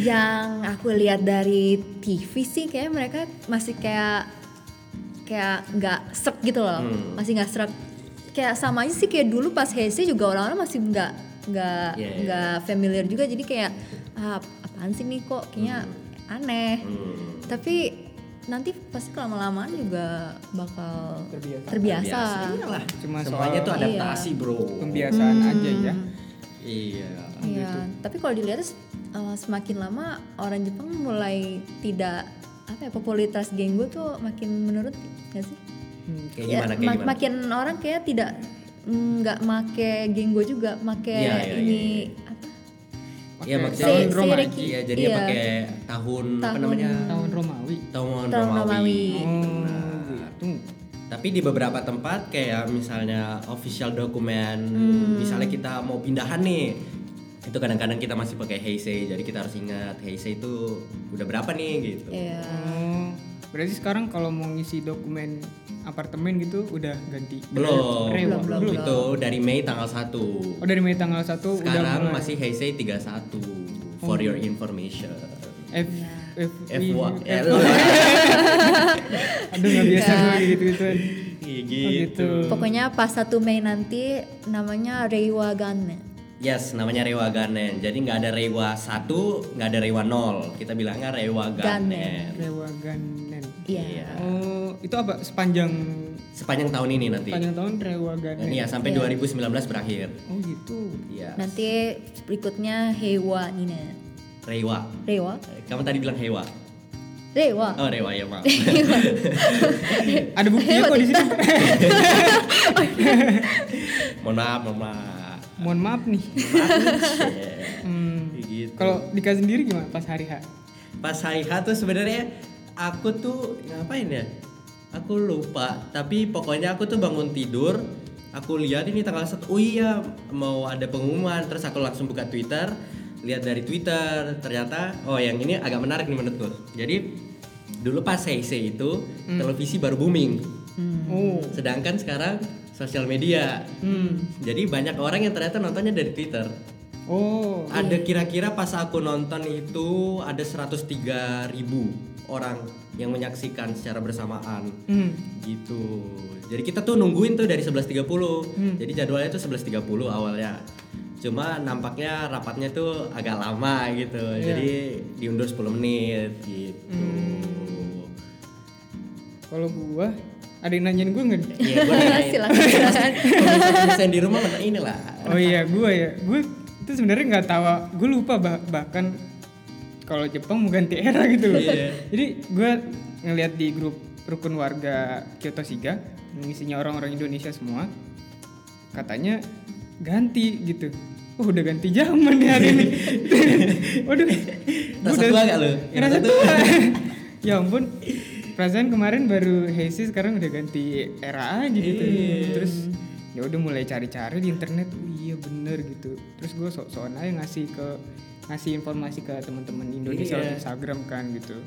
S4: yang aku lihat dari TV sih kayak mereka masih kayak kayak nggak srek gitu loh
S3: Hmm.
S4: masih nggak srek kayak sama aja sih kayak dulu pas Hese juga orang-orang masih nggak nggak
S3: Iya, iya.
S4: nggak familiar juga jadi kayak ah, apaan sih nih kok kayaknya aneh
S3: Hmm.
S4: tapi nanti pasti lama-lama juga bakal
S2: Terbiasa.
S4: terbiasa,
S3: iyalah
S2: Cuma
S3: Iya semuanya
S2: soal-
S3: tuh adaptasi bro
S2: Pembiasaan aja ya.
S3: iya
S4: Iya, tapi kalau dilihat eh, semakin lama orang Jepang mulai tidak apa ya popularitas genggo tuh makin menurun nggak sih?
S3: kayak gimana kayak
S4: Ya, mak-
S3: gimana
S4: Makin orang kayak tidak nggak make genggo juga, make
S3: Iya, iya,
S4: ini
S3: iya,
S4: apa?
S3: Iya,
S2: Pakai
S3: maksudnya-
S2: tahun
S4: Se-
S2: Romawi.
S4: seireki.
S3: iya jadinya
S4: Iya.
S3: pakai tahun, apa
S4: Tahun.
S3: namanya
S2: Tahun Romawi.
S3: tahun
S4: Tahun
S3: Romawi
S4: Romawi.
S2: Oh, gitu.
S3: Tapi di beberapa tempat kayak misalnya official dokumen,
S4: Hmm.
S3: misalnya kita mau pindahan nih, itu kadang-kadang kita masih pakai heisei, jadi kita harus ingat heisei itu udah berapa nih gitu.
S4: Iya.
S2: Oh, berarti sekarang kalau mau ngisi dokumen apartemen gitu udah ganti.
S3: Belum,
S2: Rewa.
S4: Belum, belum, belum.
S3: Itu dari Mei tanggal 1
S2: Oh, dari Mei tanggal 1 udah
S3: Sekarang
S2: mulai.
S3: masih heisei 31
S4: Oh.
S3: for your information.
S2: F F
S3: FY.
S2: F- Oh, gitu.
S3: Iya,
S2: Aduh nggak biasa
S4: Iya.
S2: gue gitu
S3: gitu.
S2: gituan. Oh, gitu.
S4: Pokoknya pas 1 Mei nanti namanya Reiwa Ganne.
S3: Yes, namanya Rewa Ganen. Jadi nggak ada Rewa 1, nggak ada Rewa 0. Kita bilangnya Rewa Ganen.
S4: Ganen.
S2: Rewa Ganen.
S4: Iya.
S2: Oh, itu apa sepanjang
S3: Sepanjang tahun ini nanti.
S2: sepanjang tahun Rewa Ganen.
S3: Iya, sampai 2019 berakhir.
S2: Oh, gitu.
S3: Iya.
S4: Nanti berikutnya Heiwa Nina.
S3: Rewa.
S4: Rewa?
S3: Eh, Kamu tadi bilang Hewa.
S4: Rewa.
S3: Oh, Rewa ya, maaf.
S2: Eh, Ada buktinya kok di Eh, sini.
S3: mohon maaf, mohon maaf.
S2: Mohon maaf nih.
S3: Yeah.
S2: Hmm.
S3: Gitu.
S2: Kalau Dika sendiri gimana pas hari H?
S3: Pas hari H tuh sebenarnya aku tuh ngapain ya? Aku lupa, tapi pokoknya aku tuh bangun tidur, aku lihat ini tanggal 1. Oh iya, mau ada pengumuman, terus aku langsung buka Twitter, lihat dari Twitter, ternyata oh yang ini agak menarik nih menurutku. Jadi dulu pas Heisei itu televisi baru booming.
S4: Hmm.
S2: Oh.
S3: Sedangkan sekarang sosial media.
S2: Hmm.
S3: Jadi banyak orang yang ternyata nontonnya dari Twitter.
S2: Oh.
S3: Ada kira-kira pas aku nonton itu ada 103.000 ribu orang yang menyaksikan secara bersamaan.
S2: Hmm.
S3: Gitu. Jadi kita tuh nungguin tuh dari 11.30. Jadi jadwalnya tuh 11.30 awalnya. Cuma nampaknya rapatnya tuh agak lama gitu. Jadi diundur 10 menit gitu.
S2: Kalau gua ada yang nanyain gua nggak?
S3: Iya, gua nanyain.
S4: Silakan.
S3: Pemirsa-pemirsa yang di rumah ini lah.
S2: Oh iya, gue ya, gue itu sebenarnya nggak tahu, gue lupa bah- bahkan kalau Jepang mau ganti era gitu loh.
S3: Iya.
S2: Jadi gue ngelihat di grup rukun warga Kyoto Siga, yang isinya orang-orang Indonesia semua, katanya ganti gitu. Oh udah ganti zaman ya hari ini. Waduh. gua
S3: Rasa
S2: udah-
S3: tua nggak lo?
S2: Rasa
S3: Rasa
S2: tua. ya ampun. Perasaan kemarin baru Heisei sekarang udah ganti era aja gitu.
S3: Iya.
S2: Terus
S3: Hmm.
S2: ya udah mulai cari-cari di internet. Oh, iya bener gitu. Terus gue sok-sokan aja ngasih ke ngasih informasi ke teman-teman
S3: Iya.
S2: Indonesia lewat Instagram kan gitu.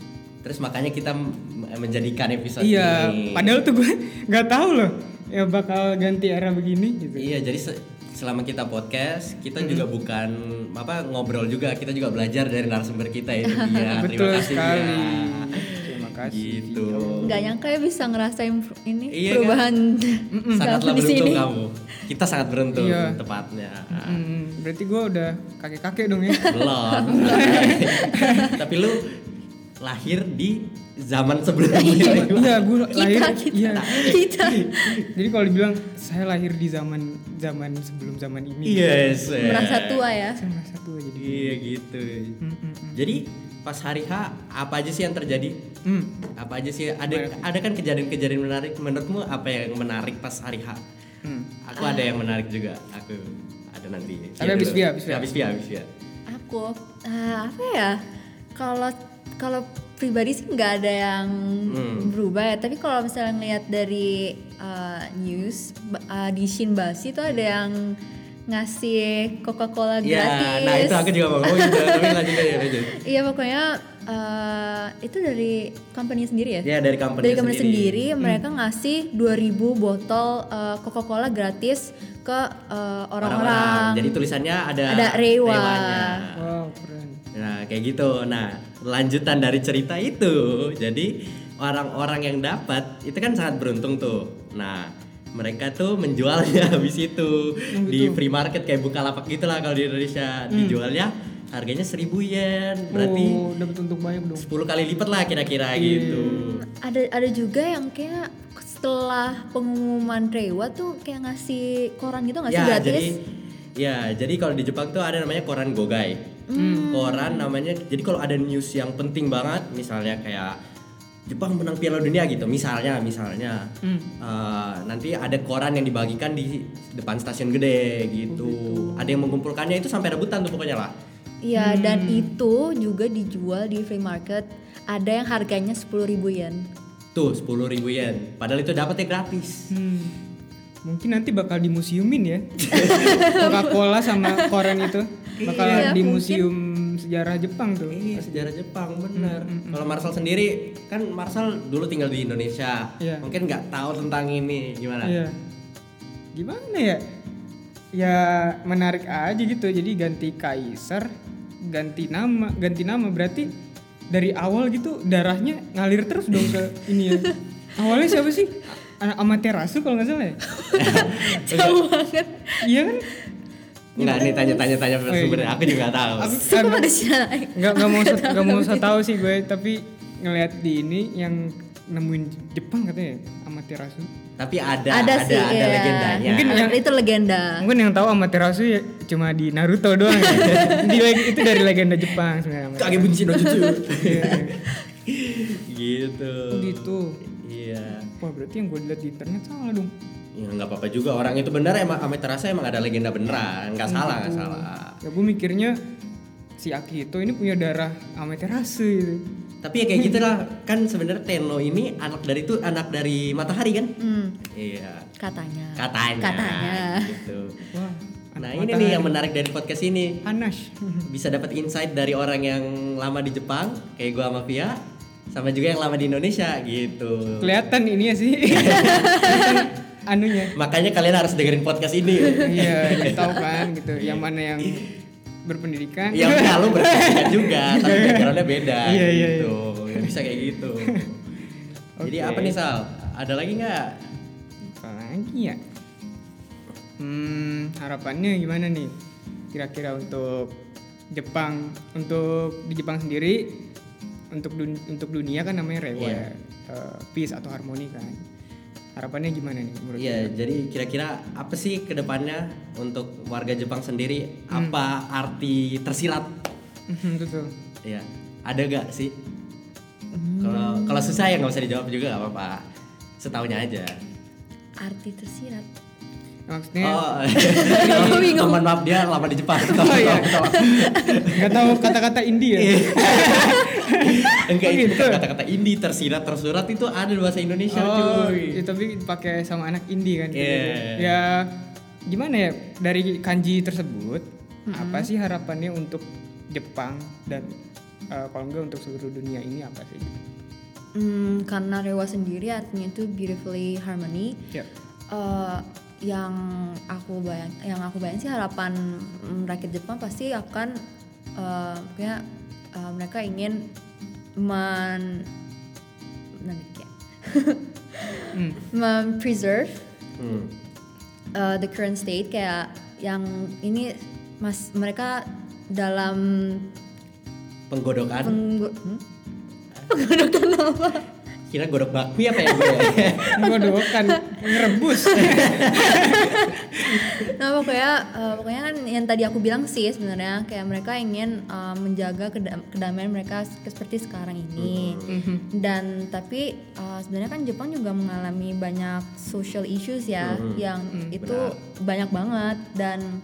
S3: Terus makanya kita m- menjadikan episode
S2: iya,
S3: ini.
S2: padahal tuh gue nggak tahu loh ya bakal ganti era begini gitu.
S3: Iya, jadi se- selama kita podcast, kita juga bukan apa ngobrol juga, kita juga belajar dari narasumber kita itu dia. Terima
S2: Betul
S3: kasih
S2: sekali.
S3: dia.
S2: Terima kasih.
S3: Gitu.
S4: Nggak nyangka ya bisa ngerasain pr- ini
S3: Iya, kan?
S4: perubahan
S3: Sangatlah
S4: zaman di
S3: beruntung
S4: sini.
S3: kamu. Kita sangat beruntung
S2: Iya.
S3: tepatnya.
S2: Hmm, berarti gue udah kakek-kakek dong ya.
S3: Belum. Tapi lu lahir di zaman sebelum ini.
S2: Iya, gue lahir.
S4: Kita, kita,
S2: Iya.
S4: kita.
S2: Jadi kalau dibilang saya lahir di zaman zaman sebelum zaman ini.
S3: Yes. eh.
S4: Merasa tua ya.
S2: Saya merasa tua jadi.
S3: Iya gitu. Jadi pas hari H apa aja sih yang terjadi?
S2: Hmm.
S3: Apa aja sih ada ada kan kejadian-kejadian menarik menurutmu apa yang menarik pas hari H?
S2: Hmm.
S3: Aku ada yang menarik juga. Aku ada nanti. Iya,
S2: Tapi habis
S3: dulu.
S2: dia, habis dia.
S3: Habis dia, habis dia.
S4: Aku ah, apa ya? Kalau kalau pribadi sih nggak ada yang
S3: Hmm.
S4: berubah ya. Tapi kalau misalnya ngelihat dari eh, news ba- eh, di Shinbasi itu ada yang ngasih Coca-Cola
S3: Hmm. Iya,
S4: Oh, gratis.
S3: nah itu aku juga mau ngomong gitu. Tapi lanjut aja lanjut.
S4: Iya pokoknya eh, itu dari company sendiri ya.
S3: Ya dari company
S4: dari company sendiri,
S3: Hmm.
S4: mereka ngasih 2000 botol eh, Coca-Cola gratis ke eh, orang-orang.
S3: Jadi tulisannya ada
S4: Ada rewa.
S3: rewanya.
S2: Wow, keren.
S3: Nah, kayak gitu. Nah, lanjutan dari cerita itu. Jadi, orang-orang yang dapat itu kan sangat beruntung tuh. Nah, mereka tuh menjualnya habis itu di free market kayak Bukalapak gitu lah kalau di Indonesia. Dijualnya harganya 1000 yen. Berarti
S2: Oh, dapat untung banyak dong.
S3: 10 kali lipat lah kira-kira gitu.
S4: Ada ada juga yang kayak setelah pengumuman rewa tuh kayak ngasih koran gitu nggak sih gratis?
S3: Ya, jadi ya, jadi kalau di Jepang tuh ada namanya koran gogai.
S4: Hmm.
S3: Koran namanya. Jadi kalau ada news yang penting banget, misalnya kayak Jepang menang Piala Dunia gitu, misalnya, misalnya.
S4: Hmm.
S3: Eh, nanti ada koran yang dibagikan di depan stasiun gede
S4: Oh,
S3: gitu. Ada yang mengumpulkannya itu sampai rebutan tuh pokoknya lah.
S4: Iya dan
S3: Hmm.
S4: itu juga dijual di free market. Ada yang harganya 10.000 yen.
S3: Tuh 10.000 yen. Padahal itu dapatnya gratis.
S2: Hmm. Mungkin nanti bakal di museumin ya. Coca-Cola sama koran itu bakal
S4: Iya,
S2: di
S4: mungkin.
S2: museum sejarah Jepang tuh.
S3: Ini Iya, sejarah Jepang bener.
S4: Hmm,
S3: Kalau Marcel sendiri kan Marcel dulu tinggal di Indonesia,
S2: Iya.
S3: mungkin nggak tahu tentang ini gimana?
S2: Iya. Gimana ya? Ya menarik aja gitu. Jadi ganti kaisar, ganti nama, ganti nama berarti dari awal gitu darahnya ngalir terus dong ke ini ya. Awalnya siapa sih? Anak Amaterasu kalau nggak salah ya?
S4: Jauh banget.
S2: Iya kan?
S3: Nggak nih tanya-tanya tanya
S2: iya.
S3: sumbernya, aku juga nggak tahu.
S4: Suka pada Shinai.
S2: Nggak nggak mau so- nggak mau so tahu sih gue, tapi ngelihat di ini yang nemuin Jepang katanya ya, Amaterasu.
S3: Tapi ada ada
S4: Ada
S3: ada,
S4: sih, iya.
S3: legendanya.
S2: Mungkin yang-
S4: Itu legenda.
S2: Mungkin yang tahu Amaterasu ya cuma di Naruto doang. ya. Di leg- itu dari legenda Jepang sebenarnya. Amaterasu.
S3: Kage Bunshin no Jutsu.
S2: Iya.
S3: gitu.
S2: gitu
S3: Iya.
S2: wah berarti yang gue lihat di internet salah dong
S3: Ya nggak apa-apa juga orang itu benar emang Amaterasu emang ada legenda beneran, nggak salah nggak salah.
S2: ya gue mikirnya si Akito ini punya darah Amaterasu gitu
S3: Tapi ya kayak gitulah kan sebenarnya Tenno ini anak dari itu anak dari matahari kan?
S4: Hmm,
S3: Iya.
S4: katanya.
S3: Katanya.
S4: Katanya.
S3: Gitu.
S2: wah
S3: Nah ini nih yang menarik dari podcast ini
S2: Hanash
S3: bisa dapat insight dari orang yang lama di Jepang kayak gua sama Pia sama juga yang lama di Indonesia gitu.
S2: kelihatan ini ya sih Kelihatan anunya
S3: Makanya kalian harus dengerin podcast ini.
S2: iya jadi tahu kan gitu yang mana yang berpendidikan
S3: yang kalau berpendidikan juga, tapi backgroundnya beda
S2: Iya, iya,
S3: gitu. Ya, bisa kayak gitu. Jadi apa nih Sal? Ada lagi nggak?
S2: apa lagi ya hmm harapannya gimana nih kira-kira untuk Jepang untuk di Jepang sendiri untuk dun- untuk dunia kan namanya rewa
S3: Iya.
S2: ya, eh, peace atau harmoni kan harapannya gimana nih menurut
S3: Iya, jadi kira-kira apa sih kedepannya untuk warga Jepang sendiri?
S2: Hmm.
S3: Apa arti tersilat?
S2: Mhm, itu tuh
S3: Iya, ada gak sih? Kalau kalau susah ya nggak usah dijawab juga nggak apa-apa. Setahunya aja.
S4: arti tersirat
S2: maksudnya
S3: Oh, teman maaf dia lama di Jepang. Oh,
S2: iya. nggak tahu kata-kata ya. India
S3: Iya. Enggak
S2: Oh,
S3: itu
S2: gitu.
S3: bukan kata-kata indie tersirat tersurat itu ada di bahasa Indonesia
S2: Oh,
S3: Iya, cuy.
S2: ya, tapi pakai sama anak indie kan.
S3: Iya.
S2: Ya gimana ya dari kanji tersebut apa sih harapannya untuk Jepang dan eh, kalau enggak untuk seluruh dunia ini apa sih?
S4: Hmm, karena rewa sendiri artinya itu beautifully harmony
S2: Ya.
S4: Eh, yang aku bayang yang aku bayang sih harapan mm, rakyat Jepang pasti akan eh, kayak eh, mereka ingin men ya, nanti kayak
S2: Hmm.
S4: mempreserve
S3: Hmm.
S4: uh, the current state kayak yang ini mas mereka dalam
S3: Penggodokan.
S4: penggo- hmm?
S3: Kira godok bakmi apa ya gue?
S2: Menggodokan, ngerebus.
S4: nah pokoknya uh, pokoknya kan yang tadi aku bilang sih sebenarnya kayak mereka ingin uh, menjaga keda- kedamaian mereka se- seperti sekarang ini
S2: Mm-hmm.
S4: dan tapi uh, sebenarnya kan Jepang juga mengalami banyak social issues ya yang itu banyak banget dan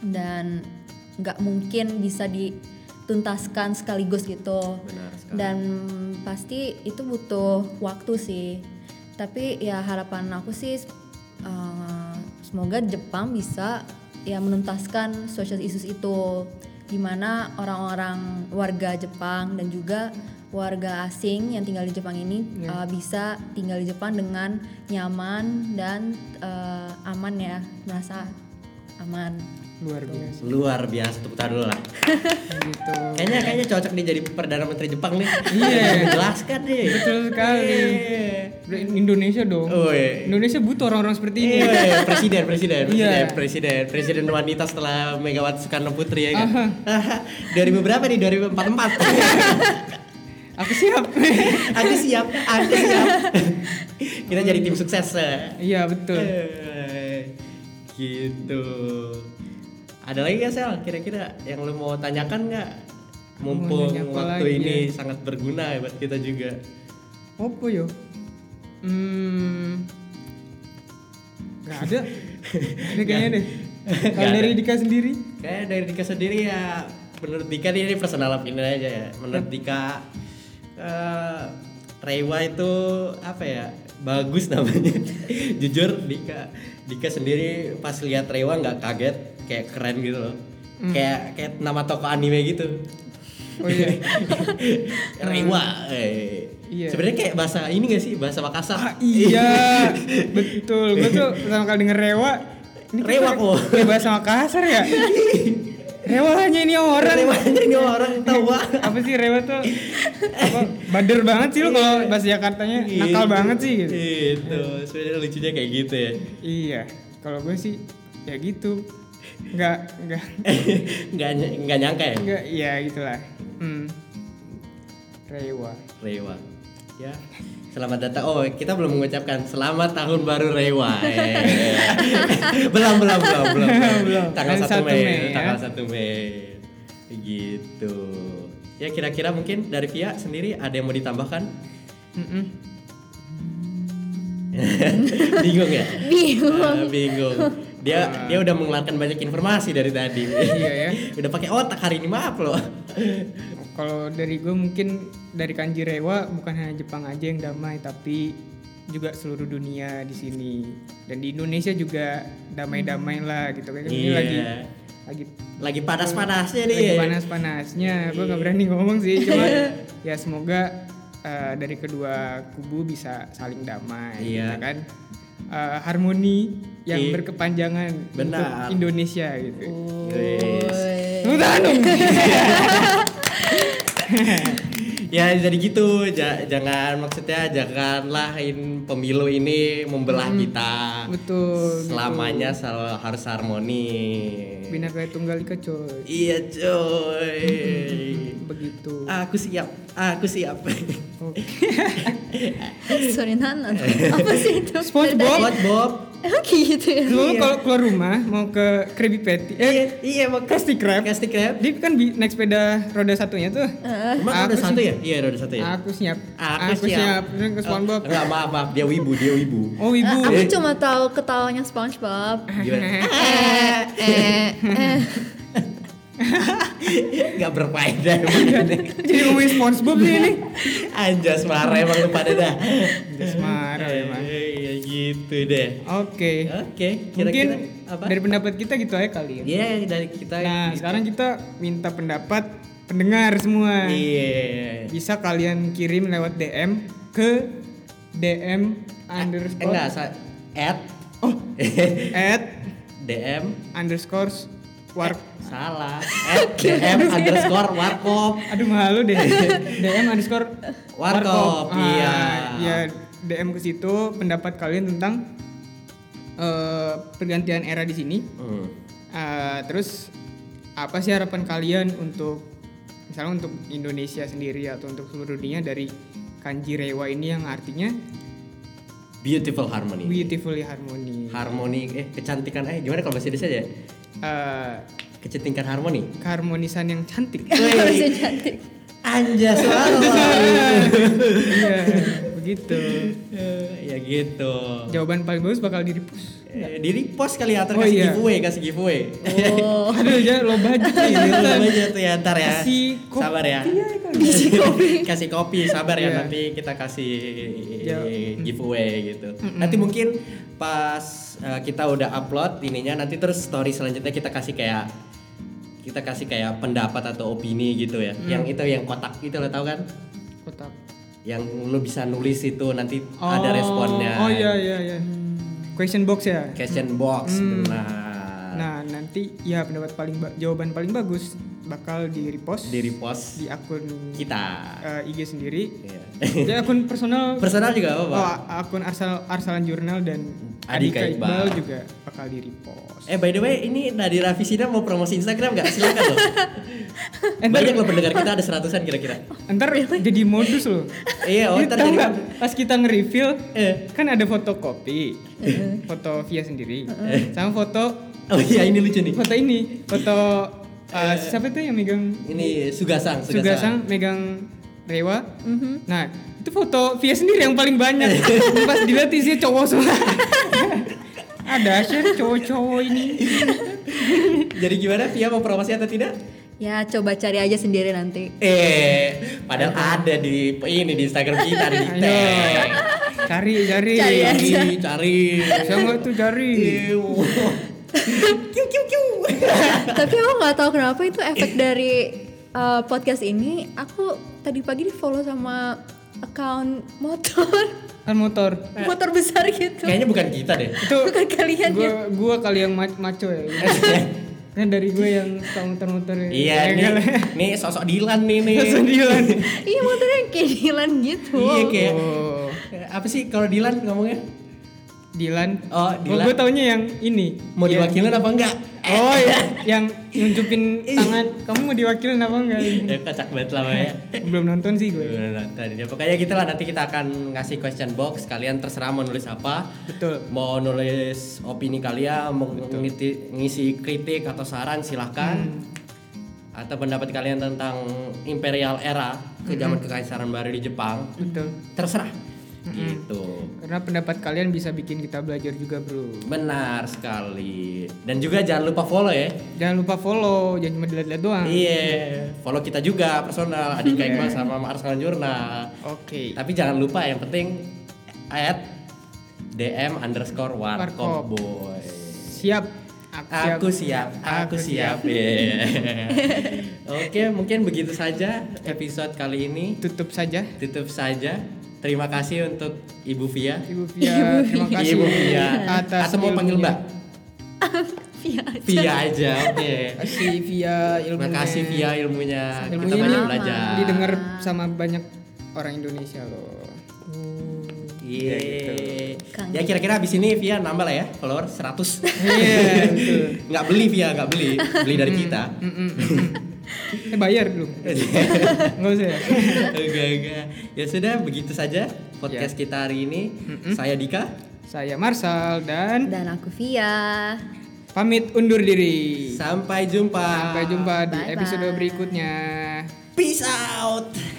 S4: dan nggak mungkin bisa dituntaskan sekaligus gitu
S3: Benar sekali.
S4: dan pasti itu butuh waktu sih tapi ya harapan aku sih eh, semoga Jepang bisa ya menuntaskan social issues itu gimana orang-orang warga Jepang dan juga warga asing yang tinggal di Jepang ini
S2: Iya.
S4: eh, bisa tinggal di Jepang dengan nyaman dan eh, aman ya merasa aman
S2: Luar biasa
S3: Luar biasa tepuk tangan dulu lah.
S2: gitu.
S3: Kayaknya kayaknya cocok nih jadi perdana menteri Jepang nih.
S2: Iya.
S3: Jelaskan deh.
S2: Betul sekali.
S3: Iya.
S2: Indonesia dong.
S3: Woi.
S2: Indonesia butuh orang-orang seperti ini.
S3: Iya, presiden, presiden, presiden,
S2: Iya.
S3: presiden, presiden wanita setelah Megawati Soekarno Putri ya kan. 2000 berapa nih? 2044.
S2: Aku siap.
S3: aku siap, aku siap. Kita jadi tim sukses. eh.
S2: Iya betul.
S3: Eh, gitu. Ada lagi nggak Sel? Kira-kira yang lu mau tanyakan nggak? Mumpung
S2: nanya
S3: waktu
S2: apa lagi ya?
S3: ini sangat berguna buat kita juga.
S2: Apa yo? Hmm. Gak ada. Ini kayaknya deh. Kalau dari Dika sendiri?
S3: Kayak dari Dika sendiri ya, menurut Dika nih, ini personal opinion aja ya. Menurut Dika, eh, Rewa itu apa ya? Bagus namanya. Jujur Dika, Dika sendiri pas lihat Rewa nggak kaget, kayak keren gitu loh.
S2: Hmm.
S3: Kayak kayak nama toko anime gitu.
S2: Oh iya.
S3: Rewa. Eh.
S2: Hmm. Iya.
S3: Sebenarnya kayak bahasa ini gak sih? Bahasa Makassar.
S2: Ah, iya. Betul. Gue tuh pertama kali denger rewa. Ini
S3: Rewa,
S2: kayak-
S3: kok.
S2: Kayak bahasa Makassar ya? rewa hanya ini orang.
S3: Rewa ini orang tawa.
S2: Apa sih rewa tuh? Apa, bader banget sih lo
S3: Iya.
S2: kalau bahasa Jakartanya nakal banget sih gitu.
S3: Gitu. Sebenarnya lucunya kayak gitu ya.
S2: Iya. Kalau gue sih ya gitu. Enggak, enggak,
S3: nggak ny- nggak nyangka ya
S2: enggak, ya gitulah. Hmm. Rewa.
S3: Rewa ya selamat datang oh kita belum mengucapkan selamat tahun baru Rewa Eh. belum belum belum belum,
S2: Belum.
S3: tanggal 1
S2: Hari 1
S3: Mei,
S2: Mei, ya.
S3: tanggal 1 Mei gitu ya kira-kira mungkin dari Via sendiri ada yang mau ditambahkan
S2: Mm-mm.
S3: bingung ya
S4: Bingung.
S3: Ah, bingung
S2: Ah.
S3: dia dia udah mengeluarkan banyak informasi dari tadi
S2: Iya ya.
S3: udah pakai otak hari ini maaf loh
S2: Kalau dari gue mungkin dari kanji rewa bukan hanya Jepang aja yang damai tapi juga seluruh dunia di sini dan di Indonesia juga damai-damai lah gitu kan
S3: Iya.
S2: ini lagi lagi
S3: lagi panas-panasnya nih
S2: lagi panas-panasnya gue nggak berani ngomong sih cuma ya semoga eh, dari kedua kubu bisa saling damai
S3: Iya.
S2: gitu kan Eh, harmoni yang
S3: Iya.
S2: berkepanjangan untuk
S3: Benar.
S2: Indonesia
S3: Oh.
S2: gitu.
S3: Wes.
S4: Woi.
S2: Tepuk tangan dong.
S3: ya jadi gitu Ja- jangan maksudnya janganlah in- pemilu ini membelah kita
S2: Hmm, Betul.
S3: selamanya selalu harus harmoni
S2: Binaka Tunggal Ika coy.
S3: iya coy
S2: Begitu.
S3: Ah. aku siap aku siap
S2: Oke.
S4: Surinan atau apa sih itu?
S2: SpongeBob.
S3: SpongeBob.
S4: Emang kayak gitu ya?
S2: Dulu kalau keluar rumah mau ke Krabby Patty,
S3: Iya,
S2: eh
S3: iya emang
S2: Krusty Krab.
S3: Krusty Krab.
S2: Dia kan bi- naik sepeda roda satunya tuh.
S3: Emang ada
S2: Aku sih-
S3: satu ya? Iya, ada satu ya.
S2: Aku siap.
S3: Aku, siap.
S2: Terus ke SpongeBob.
S3: Eh, Enggak, maaf, maaf. Dia wibu, dia wibu.
S2: Oh
S4: Eh,
S2: ibu.
S4: aku cuma tahu ketawanya SpongeBob.
S3: Gimana?
S4: Eh, eh, eh.
S3: Enggak berfaedah
S2: Iya.
S3: emang ini.
S2: Jadi ngomongin SpongeBob nih ini.
S3: Iya. Anjas marah emang lu pada dah.
S2: Anjas marah emang.
S3: Iya, iya, gitu deh.
S2: Oke.
S3: Oke, Ya,
S2: Mungkin
S3: kira-kira apa?
S2: dari pendapat kita gitu aja kali ya.
S3: Iya, dari kita. gitu.
S2: Nah, sekarang kita minta pendapat pendengar semua.
S3: Iya.
S2: Bisa kalian kirim lewat DM ke DM underscore
S3: Eh, Enggak, sa- at
S2: Oh. at
S3: DM
S2: underscore war
S3: salah at DM underscore warkop
S2: aduh malu deh DM underscore
S3: Warkop,
S2: Ah,
S3: iya.
S2: iya DM ke situ pendapat kalian tentang eh, pergantian era di sini
S3: Hmm.
S2: Eh, terus apa sih harapan kalian untuk misalnya untuk Indonesia sendiri atau untuk seluruh dunia dari kanji rewa ini yang artinya
S3: beautiful harmony
S2: beautifully harmony
S3: harmoni eh kecantikan eh gimana kalau bahasa Indonesia ya
S2: Eh,
S3: kecantikan harmoni
S2: keharmonisan yang cantik
S4: Harusnya cantik.
S3: anjas banget.
S2: iya begitu
S3: ya gitu
S2: jawaban paling bagus bakal di repost
S3: eh, di repost kali ya ntar
S2: Oh,
S3: kasih
S2: iya.
S3: giveaway kasih giveaway
S4: Oh,
S2: Aduh ya lo budget nih.
S3: Gitu
S2: Nathan.
S3: aja tuh ya ntar ya
S2: Kasih Iya, kopi
S3: sabar ya
S4: biji kopi.
S3: kasih kopi sabar ya
S2: kan? Iya.
S3: nanti kita kasih
S2: Ya.
S3: giveaway gitu nanti mungkin pas eh, kita udah upload ininya nanti terus story selanjutnya kita kasih kayak kita kasih kayak pendapat atau opini gitu
S2: Mm.
S3: ya yang itu yang kotak itu lo tau kan
S2: Kotak.
S3: yang lo bisa nulis itu nanti ada responnya
S2: Oh iya iya iya. Question box ya.
S3: question box benar
S2: Mm. Nah nanti ya pendapat paling ba- jawaban paling bagus bakal di repost
S3: di repost
S2: di akun
S3: kita
S2: eh, IG sendiri.
S3: Iya.
S2: Di akun personal.
S3: personal juga apa
S2: oh, akun Arsal Arsalan Jurnal dan
S3: Adika
S2: Adika,
S3: Iqbal.
S2: Iqbal juga bakal di repost.
S3: Eh by the way ini Nadira Fisina mau promosi Instagram gak? Silakan loh.
S2: Eh, ntar-
S3: Banyak loh pendengar kita ada seratusan kira-kira.
S2: Ntar jadi modus loh.
S3: Iya, oh,
S2: Ini
S3: ntar
S2: tahu
S3: jadi
S2: nggak?
S3: modus.
S2: Pas kita nge-reveal,
S3: Eh.
S2: kan ada fotokopi, foto via sendiri,
S3: Eh.
S2: sama foto
S3: Oh iya ini lucu nih.
S2: foto ini, foto
S3: Eh.
S2: uh, siapa tuh yang megang
S3: Ini Sugasang,
S2: Sugasang megang Rewa. Nah itu foto via sendiri yang paling banyak. Pas dilihat isinya cowok semua. ada share cowok-cowok ini.
S3: Jadi gimana Via mau promosi atau tidak?
S4: ya coba cari aja sendiri nanti.
S3: Eh, padahal ada di ini di Instagram kita di
S2: Ayo,
S3: tag.
S2: Nah, iya. cari cari.
S4: Cari
S3: Iya.
S4: ya.
S3: Cari, Iya. cari.
S2: Saya nggak tuh cari.
S3: Ew. Kiu kiu kiu.
S4: Tapi aku nggak tahu kenapa itu efek dari uh, podcast ini. Aku tadi pagi di follow sama account motor,
S2: Kan motor.
S4: motor besar gitu.
S3: Eh. Kayaknya bukan kita deh.
S2: Itu
S4: Bukan kalian ya?
S2: gua gua kali yang ma- maco ya kan dari gue yang suka muter-muter ya.
S3: Iya
S2: Ya,
S3: nih,
S2: kali.
S3: nih sosok Dilan nih nih.
S2: Sendirian.
S4: Iya motornya yang kayak Dylan gitu.
S3: Iya kayak
S2: Oh.
S3: apa sih kalau Dilan ngomongnya?
S2: Dilan
S3: Oh, Dilan.
S2: gue taunya yang ini
S3: Mau
S2: Yang-
S3: diwakilin apa enggak?
S2: oh iya yang nunjukin
S3: Iya.
S2: tangan kamu mau diwakilin apa enggak
S3: Ya kocak banget lah ya.
S2: belum nonton sih gue
S3: Tadi ya pokoknya gitu lah nanti kita akan ngasih question box kalian terserah mau nulis apa
S2: betul
S3: mau nulis opini kalian mau ngiti- ngisi kritik atau saran silahkan atau pendapat kalian tentang imperial era ke zaman kekaisaran baru di Jepang
S2: betul
S3: terserah gitu
S2: karena pendapat kalian bisa bikin kita belajar juga bro
S3: benar sekali dan juga jangan lupa follow ya
S2: jangan lupa follow jangan cuma dilihat-lihat doang oke
S3: Iya, follow kita juga personal Adika Iqbal sama Arsalan Jurnal. Tapi jangan lupa yang penting at DM underscore
S2: Warkop.
S3: warkop boy.
S2: siap aku,
S3: Aku siap, aku siap. Yeah. Oke, mungkin begitu saja episode kali ini.
S2: tutup saja
S3: Tutup saja. Terima kasih untuk Ibu Via.
S2: Ibu Fia, terima kasih
S3: Ibu Via.
S2: atas
S3: Atau mau panggil Mbak?
S2: ilmunya.
S4: Iya.
S3: Via aja. Oke.
S2: kasih via ilmu
S3: Terima kasih Via ilmunya. Kita
S2: Ilmunya
S3: banyak
S4: aman.
S3: belajar.
S2: didengar sama banyak orang Indonesia loh
S3: Iya
S4: Kang.
S3: Ya kira-kira abis ini Via nambah lah ya follower 100
S2: iya betul
S3: Nggak beli Via, nggak beli Beli dari kita
S2: eh bayar belum nggak usah ya
S3: Enggak, enggak Ya sudah, begitu saja podcast kita hari ini. Saya Dika.
S2: Saya Marsal dan
S4: Dan aku Via.
S2: pamit undur diri.
S3: Sampai jumpa.
S2: Iya. Sampai jumpa di
S4: Bye-bye.
S2: episode berikutnya.
S3: Peace out.